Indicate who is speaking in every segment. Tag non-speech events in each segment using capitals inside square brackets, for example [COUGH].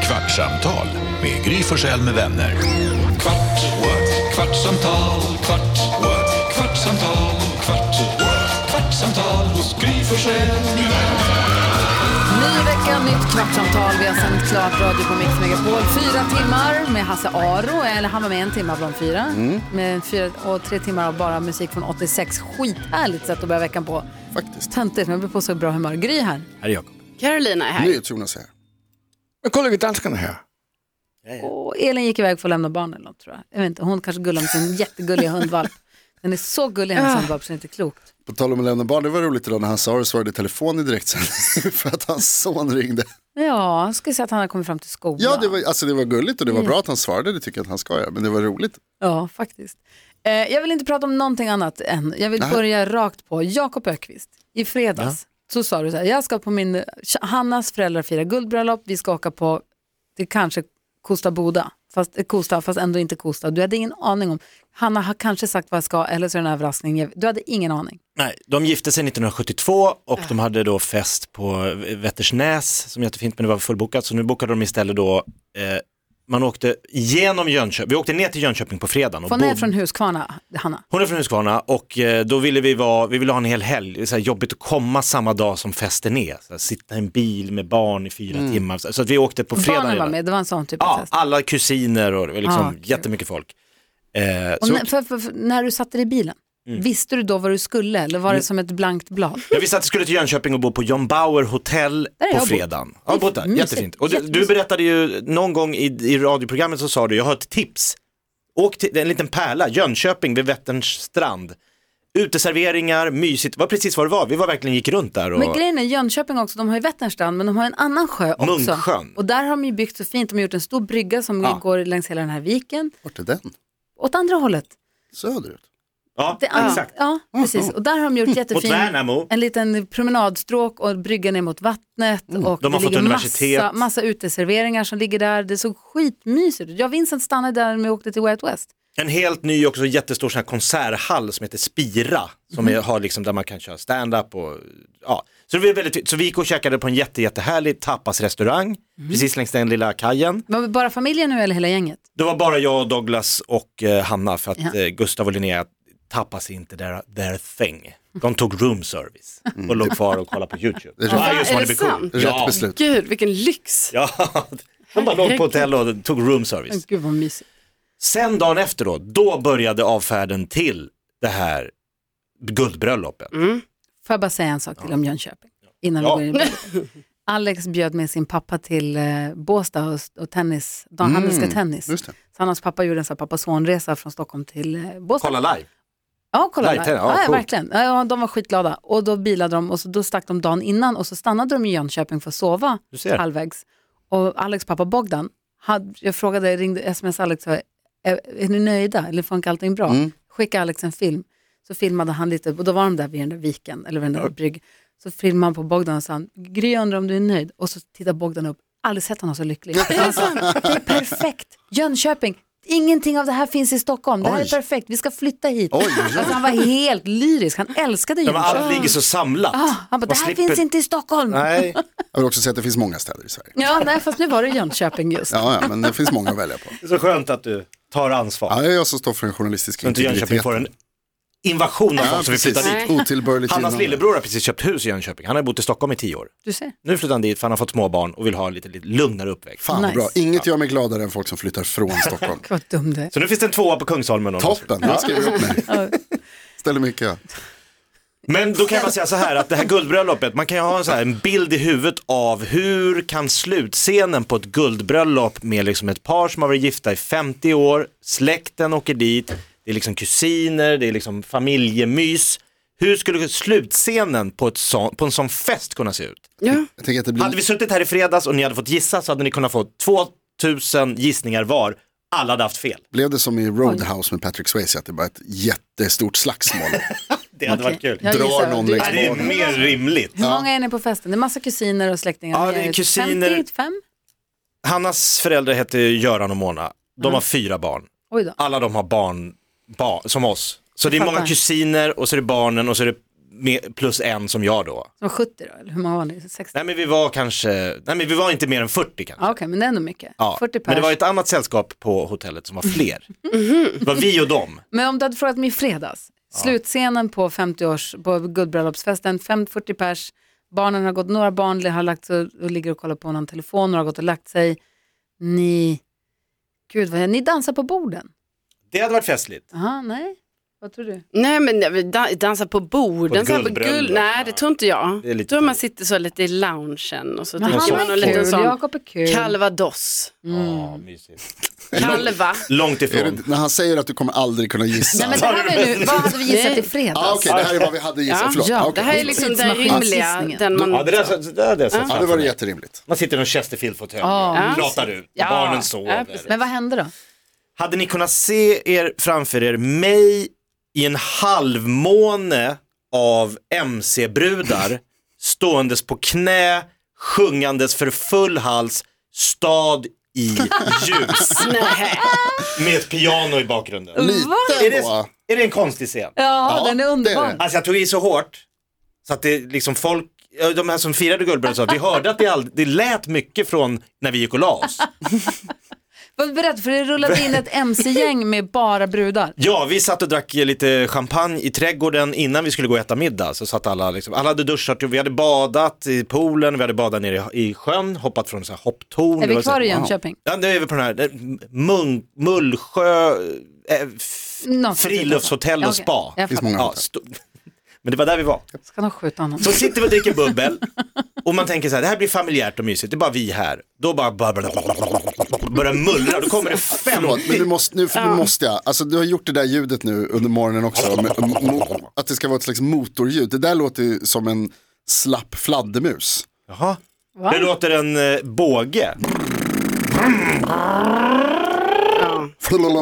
Speaker 1: Kvartsamtal med Gry Forssell med vänner. Kvart, what? kvartsamtal, kvart, what? kvartsamtal, kvart, what? kvartsamtal hos Gry Forssell med vänner.
Speaker 2: Ny vecka, nytt kvartsamtal. Vi har sänt klart radio på Mix Megapol. Fyra timmar med Hasse Aro, eller han var med en timme av de fyra.
Speaker 3: Mm.
Speaker 2: Med fyra och tre timmar av bara musik från 86. Skithärligt sätt att börja veckan på. Faktiskt. Töntigt, men jag blir på så bra humör. Gry här.
Speaker 4: Här är Jakob.
Speaker 5: Carolina är här.
Speaker 3: NyhetsJonas här. Men kolla vi danskarna här.
Speaker 2: Och Elin gick iväg för att lämna barnen eller något, tror jag. jag vet inte, hon kanske gullar med sin jättegulliga hundvalp. Den är så gullig hennes hundvalp så det är inte klokt.
Speaker 3: På tal om att lämna barn, det var roligt idag när han sa det svarade i telefon i direktsändning [LAUGHS] för att hans son ringde.
Speaker 2: Ja, jag skulle säga att han har kommit fram till skolan.
Speaker 3: Ja, det var, alltså, det var gulligt och det var bra att han svarade, det tycker jag att han ska göra, men det var roligt.
Speaker 2: Ja, faktiskt. Eh, jag vill inte prata om någonting annat än, jag vill börja rakt på Jakob Ökvist. I fredags så sa du så här, jag ska på min, Hannas föräldrar fira guldbröllop, vi ska åka på, det kanske Kosta Boda, fast, eh, Kosta, fast ändå inte Kosta. Du hade ingen aning om, Hanna har kanske sagt vad jag ska eller så är det en överraskning, Jag- du hade ingen aning.
Speaker 4: Nej, de gifte sig 1972 och
Speaker 2: Ah.
Speaker 4: de hade då fest på Vättersnäs som är jättefint men det var fullbokat så nu bokade de istället då, eh, man åkte genom Jönköping, vi åkte ner till Jönköping på fredagen. Och
Speaker 2: För hon är
Speaker 4: bodde-
Speaker 2: från Huskvarna, Hanna.
Speaker 4: Hon är från Huskvarna och eh, då ville vi, vara, vi ville ha en hel helg, det är så här jobbigt att komma samma dag som festen är. Så här, sitta i en bil med barn i fyra timmar. Så så att vi åkte på fredagen.
Speaker 2: Mm. Barnen var
Speaker 4: redan.
Speaker 2: med, det var en sån typ av
Speaker 4: Ja,
Speaker 2: fest.
Speaker 4: alla kusiner och det var liksom
Speaker 2: Ah, kul.
Speaker 4: jättemycket folk. Eh,
Speaker 2: Och
Speaker 4: så,
Speaker 2: när, för, för, för, när du satte dig i bilen, visste du då vad du skulle eller var det som ett blankt blad?
Speaker 4: jag visste att jag skulle till Jönköping och bo på John Bauer hotell
Speaker 2: Där har
Speaker 4: på
Speaker 2: jag bott.
Speaker 4: fredagen. Ja, bott där.
Speaker 2: Mysigt.
Speaker 4: Jättefint. Och du, du
Speaker 2: Jättemysigt.
Speaker 4: berättade ju någon gång i, i radioprogrammet så sa du, jag har ett tips. Åk till det är en liten pärla, Jönköping vid Vätterns strand. Uteserveringar, mysigt, det var precis vad det var. Vi var verkligen gick runt där. Och...
Speaker 2: Men grejen är Jönköping också, de har ju Vätternstrand men de har en annan sjö också.
Speaker 4: Munksjön.
Speaker 2: Och där har de ju byggt så fint, de har gjort en stor brygga som
Speaker 4: Ja.
Speaker 2: går längs hela den här viken.
Speaker 3: Vart är den?
Speaker 2: Åt andra hållet.
Speaker 3: Söderut?
Speaker 4: Ja,
Speaker 2: Det andra-
Speaker 4: exakt. Mm,
Speaker 2: Ja, precis. Och där har de gjort
Speaker 4: Mot
Speaker 2: jättefin,
Speaker 4: Värnamo.
Speaker 2: en liten promenadstråk och brygga ner mot vattnet. Och
Speaker 4: Mm. De har
Speaker 2: det
Speaker 4: fått
Speaker 2: ligger
Speaker 4: universitet.
Speaker 2: massa, massa uteserveringar som ligger där. Det såg skitmysigt ut. Jag och Vincent stannade där när vi åkte till White West.
Speaker 4: En helt ny också jättestor sån här konserthall som heter Spira. Som
Speaker 2: Mhm.
Speaker 4: är, har liksom där man kan köra stand-up och ja. Så, det var väldigt, så vi gick och käkade på en jätte, jättehärlig tapasrestaurang.
Speaker 2: Mhm.
Speaker 4: Precis längs den lilla kajen.
Speaker 2: Var det bara familjen nu eller hela gänget?
Speaker 4: Det var bara jag, Douglas och eh, Hanna för att
Speaker 2: Ja.
Speaker 4: eh, Gustav och Linnea tapas inte their, their thing. De tog room service och
Speaker 2: Mm.
Speaker 4: låg kvar och kollade på YouTube.
Speaker 3: Det är rätt-
Speaker 4: Varje
Speaker 5: Va,
Speaker 4: som
Speaker 5: är
Speaker 4: hade
Speaker 5: det
Speaker 4: blivit
Speaker 5: sant?
Speaker 4: sjuk.
Speaker 3: Rätt
Speaker 4: Ja.
Speaker 3: beslut.
Speaker 5: Gud, vilken lyx.
Speaker 4: ja. [LAUGHS] De bara låg på hotell och tog room service.
Speaker 2: Gud vad mysigt.
Speaker 4: Sen dagen efter då, då började avfärden till det här guldbröllopet.
Speaker 2: Mm. Får jag bara säga en sak till om Jönköping? Innan
Speaker 4: Ja.
Speaker 2: vi går in på
Speaker 4: [LAUGHS]
Speaker 2: det. Alex bjöd med sin pappa till eh, Båstad och, och tennis, Dan
Speaker 4: Mm,
Speaker 2: han älskar tennis.
Speaker 3: Just det.
Speaker 2: Så hans pappa gjorde en sån här pappa-son-resa från Stockholm till eh, Båstad.
Speaker 4: Kolla live.
Speaker 2: Ja, kolla
Speaker 4: live
Speaker 2: där.
Speaker 4: tennis, ja,
Speaker 2: ja,
Speaker 4: coolt.
Speaker 2: verkligen. Ja, Ja, de var skitglada. Och då bilade de och så, då stack de dagen innan och så stannade de i Jönköping för att sova
Speaker 4: Du ser.
Speaker 2: halvvägs. Och Alex pappa Bogdan, hade, jag frågade, ringde sms Alex, och sa, är, Eh, är ni nöjda eller funkar allting bra?
Speaker 4: Mm.
Speaker 2: Skickade Alex en film, så filmade han lite och då var de där vid den där viken eller vid den där brygg. Så filmade han på Bogdan och sa, han, Gry jag undrar om du är nöjd? Och så tittar Bogdan upp, aldrig sett honom så
Speaker 4: [LAUGHS]
Speaker 2: lycklig. Han sa, det är perfekt, Jönköping, ingenting av det här finns i Stockholm, det här är
Speaker 3: Oj.
Speaker 2: perfekt, vi ska flytta hit.
Speaker 3: Oj, oj,
Speaker 2: Alltså, han var helt lyrisk, han älskade
Speaker 4: Ja, men
Speaker 2: Jönköping.
Speaker 4: allt ligger så samlat.
Speaker 2: Ah, han bara,
Speaker 4: Man
Speaker 2: det här
Speaker 4: slipper-
Speaker 2: finns inte i Stockholm.
Speaker 4: Nej.
Speaker 3: Jag vill också säga att det finns många städer i Sverige.
Speaker 2: Ja, nej, fast nu var det Jönköping just.
Speaker 3: Ja, ja, men det finns många att välja på.
Speaker 4: Det är så skönt att du tar ansvar.
Speaker 3: Ja, det är jag som står för den journalistiska
Speaker 4: så inte Jönköping får en invasion av folk som vill flytta
Speaker 3: precis.
Speaker 4: dit.
Speaker 3: Otillbörligt
Speaker 4: Hannas
Speaker 3: gynnande.
Speaker 4: lillebror har precis köpt hus i Jönköping. Han har bott i Stockholm i tio år.
Speaker 2: Du ser.
Speaker 4: Nu flyttar han dit för han har fått småbarn och vill ha en lite, lite lugnare uppväxt.
Speaker 3: Fan vad
Speaker 2: Nice.
Speaker 3: bra, inget gör mig gladare än folk som flyttar
Speaker 4: [LAUGHS]
Speaker 3: från Stockholm.
Speaker 2: Vad dum det är.
Speaker 4: Så nu finns det en tvåa på Kungsholmen. om någon
Speaker 3: Toppen, jag skriver upp mig. Ställer mycket.
Speaker 4: Men då kan man säga så här att det här guldbröllopet, man kan ju ha en, så här, en bild i huvudet av hur kan slutscenen på ett guldbröllop med liksom ett par som har varit gifta i 50 år, släkten åker dit, det är liksom kusiner, det är liksom familjemys. Hur skulle slutscenen på, ett sån, på en sån fest kunna se ut?
Speaker 5: Ja.
Speaker 3: Jag tänker att
Speaker 2: Mm.
Speaker 3: det
Speaker 4: Hade vi
Speaker 3: blir...
Speaker 4: suttit här i fredags och ni hade fått gissa så hade ni kunnat få 2000 gissningar var, alla hade haft fel.
Speaker 3: Blev det som i Roadhouse med Patrick Swayze, att det bara är ett jättestort slagsmål?
Speaker 4: Det hade varit kul.
Speaker 2: Jag
Speaker 3: Drar
Speaker 2: gissar.
Speaker 3: någon
Speaker 2: Du-
Speaker 3: längs
Speaker 4: Nej, det är mer rimligt.
Speaker 2: Hur många är ni på festen? Det är massa kusiner och släktingar.
Speaker 4: Ja,
Speaker 2: Ni
Speaker 4: det är
Speaker 2: ett
Speaker 4: kusiner.
Speaker 2: 55?
Speaker 4: Hannas föräldrar heter Göran och Mona. De
Speaker 2: Mm.
Speaker 4: har fyra barn.
Speaker 2: Oj då.
Speaker 4: Alla de har barn, barn som oss. Så det är
Speaker 2: fattar.
Speaker 4: många kusiner och så är det barnen och så är det med, plus en som jag då.
Speaker 2: Som 70 då, eller hur många var ni? 60?
Speaker 4: Nej men vi var kanske, nej men vi var inte mer än 40 kanske.
Speaker 2: Ja, Okej, men det är ändå mycket.
Speaker 4: Ja,
Speaker 2: 40 pers. Mm-hmm.
Speaker 4: men det var ett annat sällskap på hotellet som var fler. Det var vi och dem.
Speaker 2: Men om du hade frågat mig i fredags, slutscenen på 50-års, på guldbröllopsfesten, 5 40 pers, barnen har gått, några barn har lagt sig och ligger och kollar på någon telefon, några har gått och lagt sig. Ni, gud vad jag, ni dansar på borden.
Speaker 4: Det hade varit festligt.
Speaker 2: Aha, nej, vad tror du?
Speaker 5: Nej men nej, vi dan- dansa på borden,
Speaker 4: ett
Speaker 5: så här
Speaker 4: guldbröllop.
Speaker 5: nej det tror inte jag.
Speaker 4: Det är lite
Speaker 5: Jag tror man
Speaker 4: tråkigt.
Speaker 5: sitter så lite i loungen och så
Speaker 2: Men
Speaker 5: dricker
Speaker 2: han
Speaker 5: man
Speaker 2: är
Speaker 5: en liten
Speaker 2: kul,
Speaker 5: sån
Speaker 2: Jakob är kul.
Speaker 5: calvados.
Speaker 2: Mm.
Speaker 4: Ja, mysigt.
Speaker 5: Calva.
Speaker 4: Långt
Speaker 3: Är
Speaker 4: ifrån.
Speaker 3: det, när han säger att du kommer aldrig kunna gissa.
Speaker 2: Nej men det här är nu, vad hade vi gissat i fredags?
Speaker 3: ah, Okej, det här är vad vi hade gissat.
Speaker 5: Ja,
Speaker 3: Förlåt.
Speaker 2: ja,
Speaker 3: Ah, okej.
Speaker 5: Det här är liksom den
Speaker 2: Tidsmaskins-
Speaker 5: rimliga,
Speaker 2: gissningen.
Speaker 5: den man...
Speaker 4: Ja, det där, det där hade jag sett
Speaker 3: Ja, det
Speaker 4: framför
Speaker 3: var
Speaker 4: mig.
Speaker 3: jätterimligt.
Speaker 4: Man sitter i någon Chesterfield-fåtölj,
Speaker 2: Ja.
Speaker 4: pratar ut,
Speaker 5: Ja.
Speaker 4: barnen
Speaker 5: Ja,
Speaker 4: sover.
Speaker 5: precis.
Speaker 2: Men vad hände då?
Speaker 4: Hade ni kunnat se er framför er mig i en halvmåne av mc-brudar ståendes på knä, sjungandes för full hals, stad i ljus
Speaker 5: Nej.
Speaker 4: med ett piano i bakgrunden.
Speaker 3: Lite
Speaker 4: Är det,
Speaker 3: då.
Speaker 4: är det en konstig scen?
Speaker 2: Ja,
Speaker 3: Ja,
Speaker 2: den är underbar.
Speaker 3: det är det.
Speaker 4: Alltså jag tog i så hårt så att det liksom folk, ja, de här som firade guldbröllop sa att vi hörde att det, all, det lät mycket från när vi gick och la oss.
Speaker 2: Var beredd för det
Speaker 4: [LAUGHS]
Speaker 2: rullade in ett mc-gäng med bara brudar.
Speaker 4: Ja, vi satt och drack lite champagne i trädgården innan vi skulle gå och äta middag. Så satt alla, liksom, alla hade duschat, vi hade badat i poolen, vi hade badat nere i, i sjön, hoppat från så här hopptorn.
Speaker 2: Är
Speaker 4: Det var
Speaker 2: vi
Speaker 4: så
Speaker 2: kvar
Speaker 4: här-
Speaker 2: i Jönköping?
Speaker 4: Ja, nu är vi på den här eh, Mung, Mullsjö eh, f-
Speaker 2: Något
Speaker 4: friluftshotell
Speaker 2: Ja,
Speaker 4: och
Speaker 2: okej.
Speaker 4: spa.
Speaker 2: Jag
Speaker 3: finns
Speaker 2: fattar.
Speaker 3: många.
Speaker 4: Ja, sto- [LAUGHS] men det var där vi var.
Speaker 2: Ska de skjuta honom?
Speaker 4: Så sitter vi och dricker bubbel och man tänker så här, det här blir familjärt och mysigt, det är bara vi här. Då bara bara- börjar mullra, då kommer det
Speaker 3: [LAUGHS] Förlåt,
Speaker 4: 50
Speaker 3: men nu måste, nu, nu måste jag. Alltså, du har gjort det där ljudet nu under morgonen också. Med, mo, att det ska vara ett slags motorljud. Det där låter ju som en slapp fladdermus.
Speaker 4: Jaha. Det låter en eh, båge.
Speaker 5: Ja.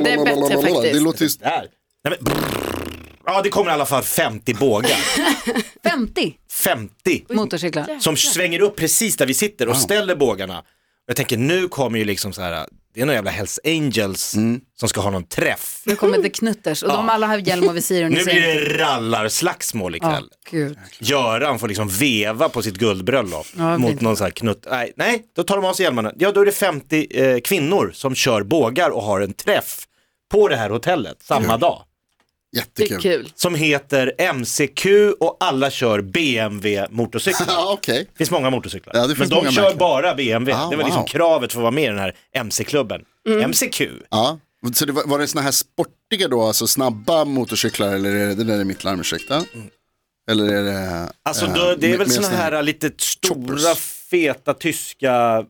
Speaker 5: Det är bättre faktiskt.
Speaker 3: Det låter ju...
Speaker 4: Där. Nej, men... Ja, det kommer i alla fall 50 bågar.
Speaker 2: 50
Speaker 4: 50
Speaker 2: motorcyklar.
Speaker 4: som svänger upp precis där vi sitter och ställer bågarna. Jag tänker nu kommer ju liksom så här, det är några jävla Hells Angels
Speaker 3: Mm.
Speaker 4: som ska ha någon träff.
Speaker 2: Nu kommer The Knutters och de alla har hjälm och visir. och ni
Speaker 4: Nu
Speaker 2: ser
Speaker 4: blir
Speaker 2: inte.
Speaker 4: det rallarslagsmål
Speaker 2: Ja,
Speaker 4: ikväll.
Speaker 2: gud.
Speaker 4: Göran får liksom veva på sitt guldbröllop
Speaker 2: Ja,
Speaker 4: mot
Speaker 2: fint.
Speaker 4: någon sån här knutt. Nej, nej, då tar de av sig hjälmarna. Ja, då är det 50 eh, kvinnor som kör bågar och har en träff på det här hotellet samma dag.
Speaker 5: Det är
Speaker 3: Jättekul.
Speaker 5: kul.
Speaker 4: som heter MCQ och alla kör BMW motorcyklar.
Speaker 3: Ja, okej.
Speaker 4: Det finns många motorcyklar.
Speaker 3: Ja, det
Speaker 4: men
Speaker 3: finns
Speaker 4: de
Speaker 3: många
Speaker 4: kör
Speaker 3: märken.
Speaker 4: bara BMW.
Speaker 3: Ah,
Speaker 4: det var liksom
Speaker 3: wow.
Speaker 4: kravet för att vara med i den här MC-klubben.
Speaker 2: Mm.
Speaker 4: MCQ.
Speaker 3: Ja. Så det var, var det såna här sportiga då, alltså snabba motorcyklar eller är det, det där är mitt larm, ursäkta? Eller är det...
Speaker 4: Alltså
Speaker 3: eh,
Speaker 4: då, det är
Speaker 3: med-
Speaker 4: väl
Speaker 3: med
Speaker 4: såna här lite stora, feta tyska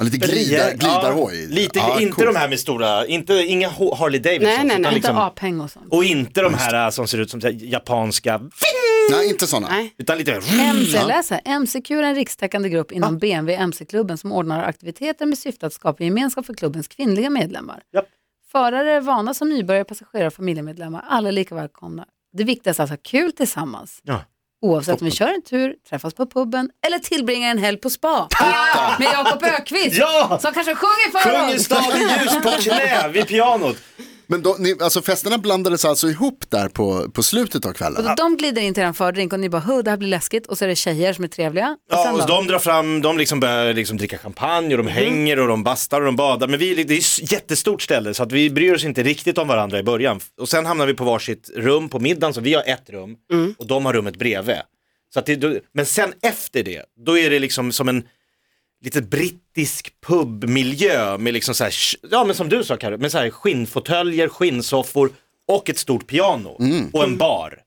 Speaker 3: Ja, lite glida, glidarhoj.
Speaker 4: Ja, lite,
Speaker 3: Ja,
Speaker 4: inte
Speaker 3: coolt.
Speaker 4: de här med stora, inte, inga Ho- Harley Davidson.
Speaker 5: Nej, nej, nej.
Speaker 4: utan
Speaker 2: Inte
Speaker 4: Liksom,
Speaker 2: aphäng och sånt.
Speaker 4: och inte de här eh, som ser ut som så här japanska,
Speaker 3: Nej, inte såna.
Speaker 5: Nej.
Speaker 4: utan lite
Speaker 2: MC,
Speaker 4: Mm.
Speaker 2: läs här. MCQ är en rikstäckande grupp inom
Speaker 4: Ah.
Speaker 2: BMW MC-klubben som ordnar aktiviteter med syfte att skapa gemenskap för klubbens kvinnliga medlemmar.
Speaker 4: Japp.
Speaker 2: Förare är vana som nybörjare, passagerare och familjemedlemmar. Alla är lika välkomna. Det viktigaste är att ha kul tillsammans.
Speaker 4: Ja.
Speaker 2: Oavsett om vi kör en tur, träffas på puben eller tillbringar en helg på spa. Med Jakob Ökvist
Speaker 4: Ja!
Speaker 2: som kanske sjunger för
Speaker 4: Sjunger
Speaker 2: oss.
Speaker 5: [LAUGHS]
Speaker 4: staden ljus på knä vid pianot.
Speaker 3: Men då, ni, alltså festerna blandades alltså ihop där på, på slutet av
Speaker 2: Och
Speaker 3: kvällen?
Speaker 2: då, de glider in till en fördrink och ni bara, "Huh, det här blir läskigt. Och så är det tjejer som är trevliga. Och
Speaker 4: Ja,
Speaker 2: sen
Speaker 4: och
Speaker 2: då? Mm.
Speaker 4: de drar fram, de liksom börjar liksom dricka champagne och de hänger och de bastar och de badar. Men vi, det är ett jättestort ställe så att vi bryr oss inte riktigt om varandra i början. Och sen hamnar vi på varsitt rum på middagen, så vi har ett rum
Speaker 2: Mm.
Speaker 4: och de har rummet bredvid. Så att det, då- men sen efter det, då är det liksom som en lite brittisk pubmiljö med liksom så här, ja men som du sa Carro, med så här skinnfåtöljer, skinnsoffor och ett stort piano och en bar.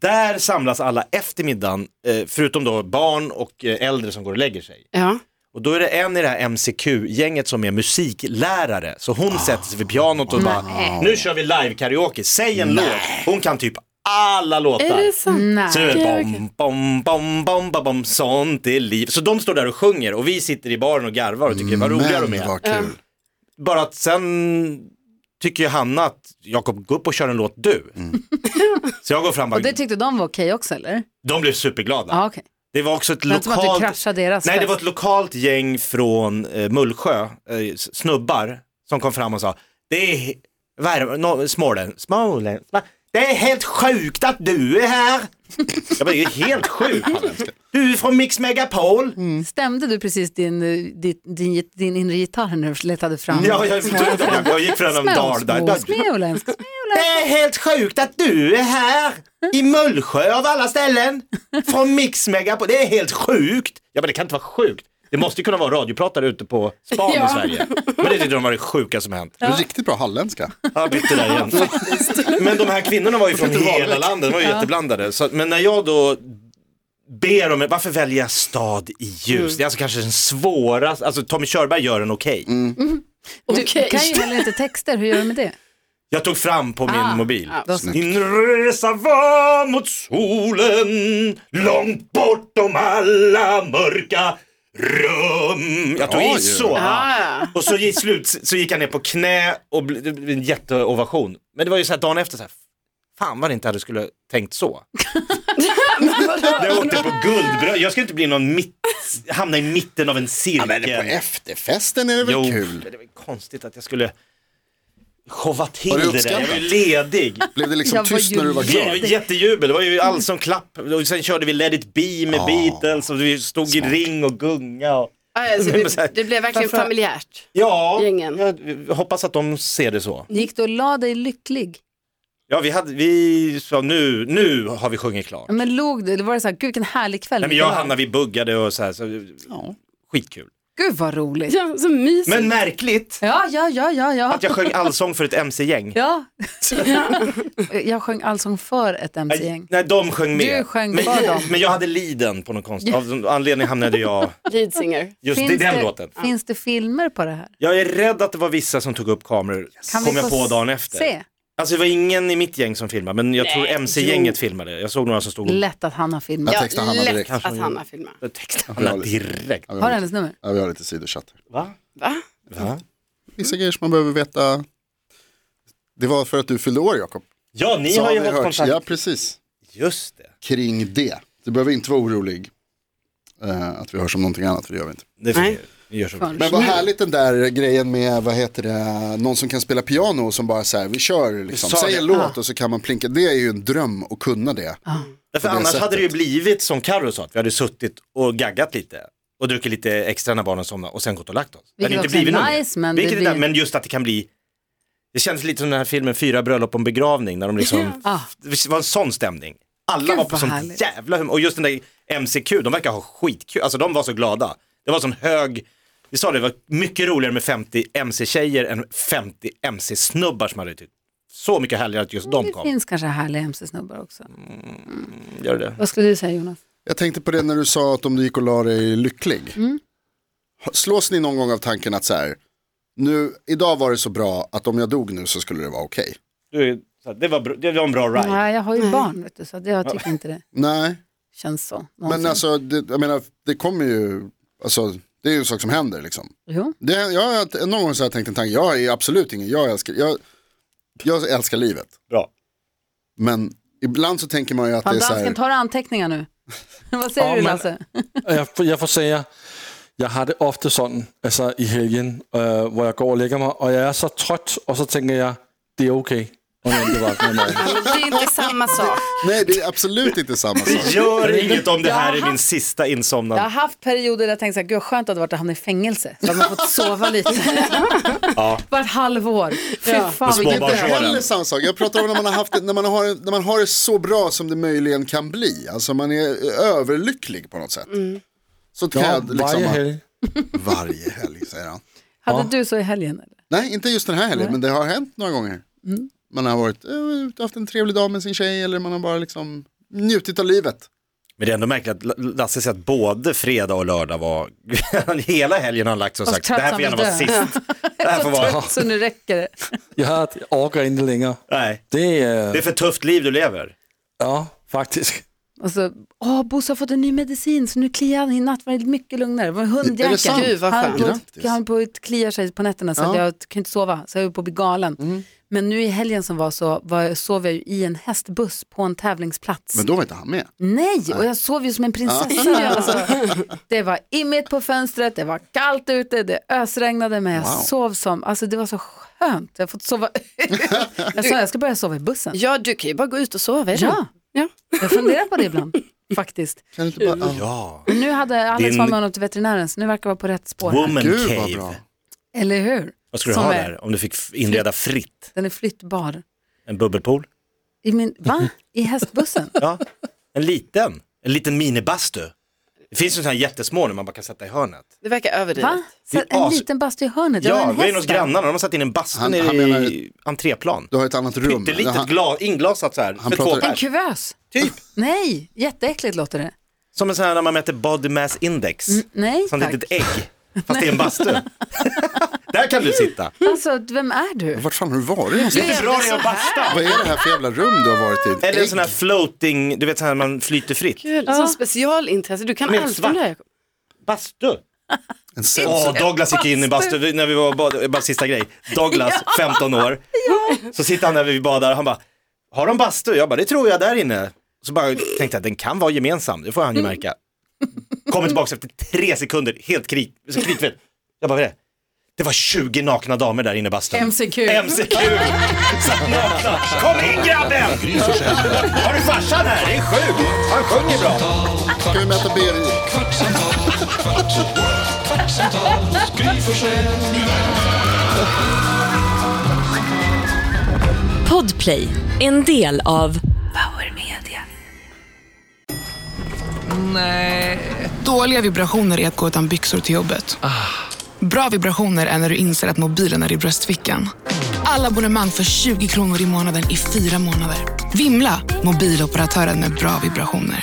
Speaker 4: Där samlas alla efter middagen, eh, förutom då barn och eh, äldre som går och lägger sig.
Speaker 5: Ja.
Speaker 4: Och då är det en i det här MCQ-gänget som är musiklärare, så
Speaker 3: Ah.
Speaker 4: hon sätter sig vid pianot och bara, nu kör vi live-karaoke, säg en låt. Hon kan typ alla låtar.
Speaker 5: Är det sant?
Speaker 2: Nej.
Speaker 4: Så det
Speaker 5: Okej,
Speaker 4: är
Speaker 5: okej.
Speaker 4: bom, bom, bom, bom, bom, bom, sånt är liv. Så de står där och sjunger och vi sitter i baren och garvar och tycker vad roliga de
Speaker 3: Mm, Men
Speaker 4: är.
Speaker 3: vad kul.
Speaker 4: Bara att sen tycker ju Hanna att Jakob, gå upp och kör en låt du.
Speaker 3: Mm.
Speaker 4: Så jag går fram och
Speaker 2: Och
Speaker 4: bara,
Speaker 2: det tyckte de var okej också eller?
Speaker 4: de blev superglada.
Speaker 2: Ja, okej.
Speaker 4: Det var också ett
Speaker 2: Men som att du
Speaker 4: lokalt,
Speaker 2: kraschade deras
Speaker 4: nej det
Speaker 2: fest.
Speaker 4: var ett lokalt gäng från eh, Mullsjö, eh, s- snubbar, som kom fram och sa, det är, vad är det, no, Småland, Småland, va? det är helt sjukt att du är här. Jag bara, det är helt sjukt. Du är från Mix Megapol.
Speaker 2: Mm. Stämde du precis din, eh, ditt- din, din inre gitarr här när du letade fram? [LAUGHS]
Speaker 4: Ja, jag, jag gick för en dal där. [LAUGHS]
Speaker 2: Småländsk,
Speaker 4: Det är helt sjukt att du är här i Mullsjö av alla ställen. Från Mix Megapol. Det är helt sjukt. Ja men det kan inte vara sjukt. Det måste ju kunna vara radiopratare ute på span
Speaker 2: Ja.
Speaker 4: i Sverige. Men det tyckte de var det sjuka som hänt.
Speaker 3: Riktigt bra halländska.
Speaker 4: Ja, bytte där igen. Men de här kvinnorna var ju från
Speaker 3: Bytte
Speaker 4: hela
Speaker 3: valet.
Speaker 4: landet, de var ju jätteblandade. Så, att- men när jag då ber om, varför väljer jag stad i ljus? Det är alltså kanske den svåraste, alltså Tommy Körberg gör den okej.
Speaker 2: Du
Speaker 6: Okej. Mm.
Speaker 2: kan ju heller inte texter, hur gör du med det?
Speaker 4: Jag tog fram på min mobil.
Speaker 2: Vad-
Speaker 4: Din resa var mot solen, långt bortom alla mörka rum. Jag tog
Speaker 3: Bra
Speaker 4: i
Speaker 3: ju.
Speaker 4: så.
Speaker 6: Ja, ja.
Speaker 4: Och så i slut så gick han ner på knä och bl- det blev en jätteovation. Men det var ju så här dagen efter så här, fan vad det inte hade skulle tänkt så. jag åkte på guldbröd, jag ska inte bli någon mitt, hamna i mitten av en cirkel.
Speaker 3: Men på efterfesten är det väl
Speaker 4: Jo,
Speaker 3: kul?
Speaker 4: men det var ju konstigt att jag skulle showa till
Speaker 3: Var det
Speaker 4: det där. Jag var ju ledig.
Speaker 3: Blev det liksom
Speaker 2: Jag var
Speaker 3: tyst
Speaker 2: ju
Speaker 3: när du var
Speaker 4: Det var
Speaker 3: klar?
Speaker 4: ju jättejubel, det var ju allsångklapp och sen körde vi Let it be med Beatles och vi stod i ring och gunga. Och...
Speaker 6: Ja, alltså,
Speaker 4: [LAUGHS] Men så här-
Speaker 6: det, det blev verkligen
Speaker 2: Varför-
Speaker 6: familjärt.
Speaker 4: Ja,
Speaker 6: Gängen.
Speaker 4: jag hoppas att de ser det så.
Speaker 2: Gick du och la dig lycklig?
Speaker 4: Ja, vi hade, vi sa nu, nu har vi sjungit klart.
Speaker 2: Ja, Men låg du, eller var det så här, gud vilken härlig kväll?
Speaker 4: Nej, men jag och Hanna vi buggade och så här, så,
Speaker 3: Ja.
Speaker 4: skitkul.
Speaker 2: Gud vad roligt.
Speaker 6: Ja, så mysigt.
Speaker 4: Men märkligt
Speaker 2: Ja, ja, ja, ja, ja.
Speaker 4: att jag sjöng allsång för ett mc-gäng.
Speaker 6: [LAUGHS]
Speaker 2: ja. jag sjöng allsång för ett mc-gäng.
Speaker 4: Nej, de sjöng med.
Speaker 2: Du sjöng
Speaker 4: men,
Speaker 2: för dem.
Speaker 4: men jag hade liden på någon konstig av någon anledning hamnade jag,
Speaker 6: Lead singer.
Speaker 4: just i
Speaker 2: Finns
Speaker 4: den
Speaker 2: det-
Speaker 4: låten.
Speaker 2: Finns det filmer på det här?
Speaker 4: Jag är rädd att det var vissa som tog upp kameror,
Speaker 2: Kan
Speaker 4: kom
Speaker 2: vi
Speaker 4: jag
Speaker 2: få
Speaker 4: på dagen
Speaker 2: s-
Speaker 4: efter.
Speaker 2: Se,
Speaker 4: Alltså det var ingen i mitt gäng som filmade, men jag tror mc-gänget filmade. Jag såg några som stod och
Speaker 2: lätt att han har filmat.
Speaker 3: Jag
Speaker 6: Ja,
Speaker 3: textar Hanna direkt.
Speaker 6: lätt att Hanna filmar.
Speaker 4: textade Hanna direkt.
Speaker 2: Har
Speaker 3: Ja, vi har
Speaker 2: du
Speaker 3: lite-
Speaker 2: hennes nummer?
Speaker 3: ja, vi har lite sidochatt.
Speaker 4: Va?
Speaker 6: Va?
Speaker 4: Va?
Speaker 3: Vissa grejer som man behöver veta. Det var för att du fyllde år Jakob.
Speaker 4: Ja, ni
Speaker 3: Så
Speaker 4: har ju
Speaker 3: vi
Speaker 4: haft
Speaker 3: hört.
Speaker 4: kontakt.
Speaker 3: Ja, precis.
Speaker 4: Just det.
Speaker 3: Kring det. Du behöver inte vara orolig eh, att vi hörs om någonting annat, för det gör vi inte.
Speaker 4: det får
Speaker 6: Nej.
Speaker 4: vi göra. vi gör så.
Speaker 3: Men vad härligt den där grejen med, vad heter det, någon som kan spela piano och som bara så här, vi kör liksom,
Speaker 4: Sa
Speaker 3: säg
Speaker 4: det.
Speaker 3: en låt och så kan man plinka. Det är ju en dröm att kunna det.
Speaker 4: Därför
Speaker 3: På det
Speaker 4: annars hade
Speaker 3: sättet.
Speaker 4: det ju blivit som Carro sa, att vi hade suttit och gaggat lite och druckit lite extra när barnen somnade och sen gått och lagt oss. Det hade
Speaker 2: Vilket
Speaker 4: inte
Speaker 2: också är
Speaker 4: blivit något.
Speaker 2: nice, men det
Speaker 4: Vilket det där,
Speaker 2: blir-
Speaker 4: men just att det kan bli, det kändes lite som den här filmen Fyra bröllop och en begravning, när de liksom,
Speaker 2: Ah.
Speaker 4: det var en sån stämning. Alla
Speaker 2: Gud,
Speaker 4: var på
Speaker 2: vad
Speaker 4: sånt
Speaker 2: härligt.
Speaker 4: jävla humör, och just den där MCQ, de verkar ha skitkul, alltså de var så glada. Det var sån hög, vi sa det, det var mycket roligare med 50 MC-tjejer än 50 MC-snubbar som hade tyckt. Så mycket härligare att just de
Speaker 2: Det
Speaker 4: kom.
Speaker 2: finns kanske härliga mc-snubbar också.
Speaker 4: Gör det?
Speaker 2: Vad skulle du säga Jonas?
Speaker 3: Jag tänkte på det när du sa att om du gick och la dig lycklig.
Speaker 4: Mm.
Speaker 3: Slås ni någon gång av tanken att så här, nu, idag var det så bra att om jag dog nu så skulle det vara okej.
Speaker 4: Du, är- så här, det, var, br- det var en bra ride.
Speaker 2: Nej, jag har ju barn, vet du, så det, jag tycker inte det
Speaker 3: Nej,
Speaker 2: känns så.
Speaker 3: men
Speaker 2: någonsin.
Speaker 3: alltså, det, jag menar, det kommer ju, alltså, det är ju en sak som händer liksom.
Speaker 2: Jo.
Speaker 3: Det, jag, har- någon gång så har jag tänkt en tanke, jag är absolut ingen, jag älskar, jag, jag älskar livet.
Speaker 4: Bra.
Speaker 3: Men ibland så tänker man ju att
Speaker 2: Fan,
Speaker 3: det är så
Speaker 2: dansken
Speaker 3: här,
Speaker 2: tar anteckningar nu. [LAUGHS] Vad säger
Speaker 7: Ja,
Speaker 2: du
Speaker 7: men-
Speaker 2: Lasse?
Speaker 7: Og Jeg, jeg får sager, jeg har det ofte sådan, altså i helgen, øh, hvor jeg går og lægger mig, og jeg er så trøt, og så tænker jeg, det er okay. Og når det vågner i morgen.
Speaker 6: Men det är inte samma sak.
Speaker 3: nej det är absolut inte samma sak.
Speaker 4: Gör inget om det här är min sista
Speaker 2: Jag har
Speaker 4: insomnande.
Speaker 2: haft perioder där jag tänkt så här, gud vad skönt det hade varit att hamna i fängelse. Så hade man fått sova
Speaker 3: [LAUGHS]
Speaker 2: lite. ja. Bara ett halvår. Fy fan
Speaker 3: Det är
Speaker 2: vilken
Speaker 3: inte
Speaker 4: Småbarnsåren.
Speaker 3: heller samma sak. Jag pratar om när man, har haft det, när, man har, när man har det så bra som det möjligen kan bli. Alltså man är överlycklig på något sätt. Så kan
Speaker 7: Ja,
Speaker 3: jag liksom,
Speaker 7: varje helg.
Speaker 3: varje helg säger han.
Speaker 2: Hade du så i helgen? Eller?
Speaker 3: Nej, inte just den här helgen, men det har hänt några gånger. Man har varit eh, ute och haft en trevlig dag med sin tjej eller man har bara liksom njutit av livet.
Speaker 4: Men det är ändå märkligt att L- Lasse säger att både fredag och lördag var, [LAUGHS] hela helgen har han lagt sig och
Speaker 2: Och
Speaker 4: sagt,
Speaker 2: trött
Speaker 4: det här
Speaker 2: som
Speaker 4: får gärna
Speaker 2: en
Speaker 4: vara
Speaker 2: död."
Speaker 4: sist.
Speaker 2: [LAUGHS]
Speaker 4: Det
Speaker 3: Äh,
Speaker 4: här får vara,
Speaker 2: Så nu räcker det.
Speaker 7: Jeg har jeg orker ikke længere.
Speaker 4: nej,
Speaker 7: Det er,
Speaker 4: det är
Speaker 7: øh,
Speaker 4: för tufft liv du lever.
Speaker 7: ja, faktisk.
Speaker 2: Och så, åh Bosse har fått en ny medicin så nu kliar han i natt, var det mycket lugnare. Det var en
Speaker 3: Är det
Speaker 2: hundjäkel.
Speaker 3: sant?
Speaker 6: Gud, vad
Speaker 2: Han
Speaker 6: skönt.
Speaker 2: på,
Speaker 3: Grattis.
Speaker 2: han på ett kliar sig på nätterna så att
Speaker 3: Ja.
Speaker 2: jag kan inte sova, så jag är på att bli galen. Men nu i helgen som var så var, jag- sov jag ju i en hästbuss på en tävlingsplats.
Speaker 3: Men då var inte han med.
Speaker 2: Nej, och jag sov ju som en prinsessa. Alltså, det var immigt på fönstret, det var kallt ute, det ösregnade, men jag
Speaker 3: Wow.
Speaker 2: sov som, alltså det var så skönt. [LAUGHS] Jag har fått sova ut. Jag sa jag ska börja sova i bussen.
Speaker 6: Ja, du kan ju bara gå ut och sova. är det?
Speaker 2: Ja,
Speaker 6: Ja.
Speaker 2: Jag funderar på det ibland, faktiskt.
Speaker 3: Kan du inte bara, ja.
Speaker 4: Ja.
Speaker 2: Men nu hade Alex
Speaker 4: Din-
Speaker 2: var med honom till veterinären, så nu verkar vara på rätt spår. här.
Speaker 4: Woman
Speaker 3: Gud vad bra.
Speaker 4: cave.
Speaker 2: Eller hur?
Speaker 4: Vad skulle du
Speaker 2: Som
Speaker 4: ha
Speaker 2: är-
Speaker 4: där om du fick f- inreda fritt?
Speaker 2: Den är flyttbar.
Speaker 4: En bubbelpool?
Speaker 2: I min, va? I
Speaker 4: [LAUGHS]
Speaker 2: hästbussen?
Speaker 4: Ja. En liten? En liten minibastu? Det finns ju sådana här jättesmå nu man bara kan sätta i hörnet.
Speaker 6: Det verkar överdrivet.
Speaker 2: Va? Så
Speaker 4: Det är
Speaker 2: en
Speaker 4: as-
Speaker 2: liten bastu i hörnet? Jag har
Speaker 4: Ja,
Speaker 2: en
Speaker 4: det är
Speaker 2: häst
Speaker 4: nog hos
Speaker 2: där.
Speaker 4: grannarna, de har satt in en bastu
Speaker 3: Han-
Speaker 4: nere
Speaker 3: han
Speaker 4: i entréplan.
Speaker 3: Du har ett annat rum.
Speaker 4: Pyttelitet
Speaker 3: Han-
Speaker 4: glas, inglasat så här,
Speaker 3: Han
Speaker 4: för två
Speaker 3: pratar-
Speaker 2: En
Speaker 4: pers.
Speaker 2: kuvös?
Speaker 4: Typ.
Speaker 2: Nej, jätteäckligt låter det.
Speaker 4: Som en sån här när man mäter body mass index.
Speaker 2: Nej
Speaker 4: Som ett
Speaker 2: tack.
Speaker 4: litet ägg, [LAUGHS] fast det är en [LAUGHS] bastu. där kan du sitta.
Speaker 2: Alltså, vem är du?
Speaker 3: Vart fan har du varit någonstans?
Speaker 4: Det är bra det är att basta.
Speaker 3: Vad är det här för jävla rum du har varit i?
Speaker 4: Eller en
Speaker 3: Ägg?
Speaker 4: sån här floating, du vet så här man flyter fritt.
Speaker 6: Kul, ja. specialintresse. Du kan
Speaker 4: Men
Speaker 6: allt
Speaker 4: svart.
Speaker 6: om det här. Jakob.
Speaker 4: Bastu.
Speaker 3: En
Speaker 4: Åh,
Speaker 3: sensor.
Speaker 4: Douglas gick in i bastu när vi var och bad, bara sista grej. Douglas, 15 år. Så sitter han där vi badar, han bara, har de bastu? Jag bara, det tror jag där inne. Så bara tänkte jag, den kan vara gemensam, det får han ju märka. Kommer tillbaka efter tre sekunder, helt krik, så kritvit. Jag bara, vad är det? Det var 20 nakna damer där inne i bastun.
Speaker 2: MCQ.
Speaker 4: MCQ! Satt nakna. Kom in grabben!
Speaker 1: Gry Forssell med vänner.
Speaker 4: Har du farsan här? Det är sjukt! Han sjunger bra.
Speaker 3: Kan vi mäta BMI?
Speaker 1: Kvartsamtal, kvart, kvartsamtal hos Gry Forssell med vänner.
Speaker 8: Podplay, en del av Power Media.
Speaker 9: Dåliga vibrationer är att gå utan byxor till jobbet. Bra vibrationer är när du inser att mobilen är i bröstfickan. Alla abonnemang för 20 kronor i månaden i fyra månader. Vimla! Mobiloperatören med bra vibrationer.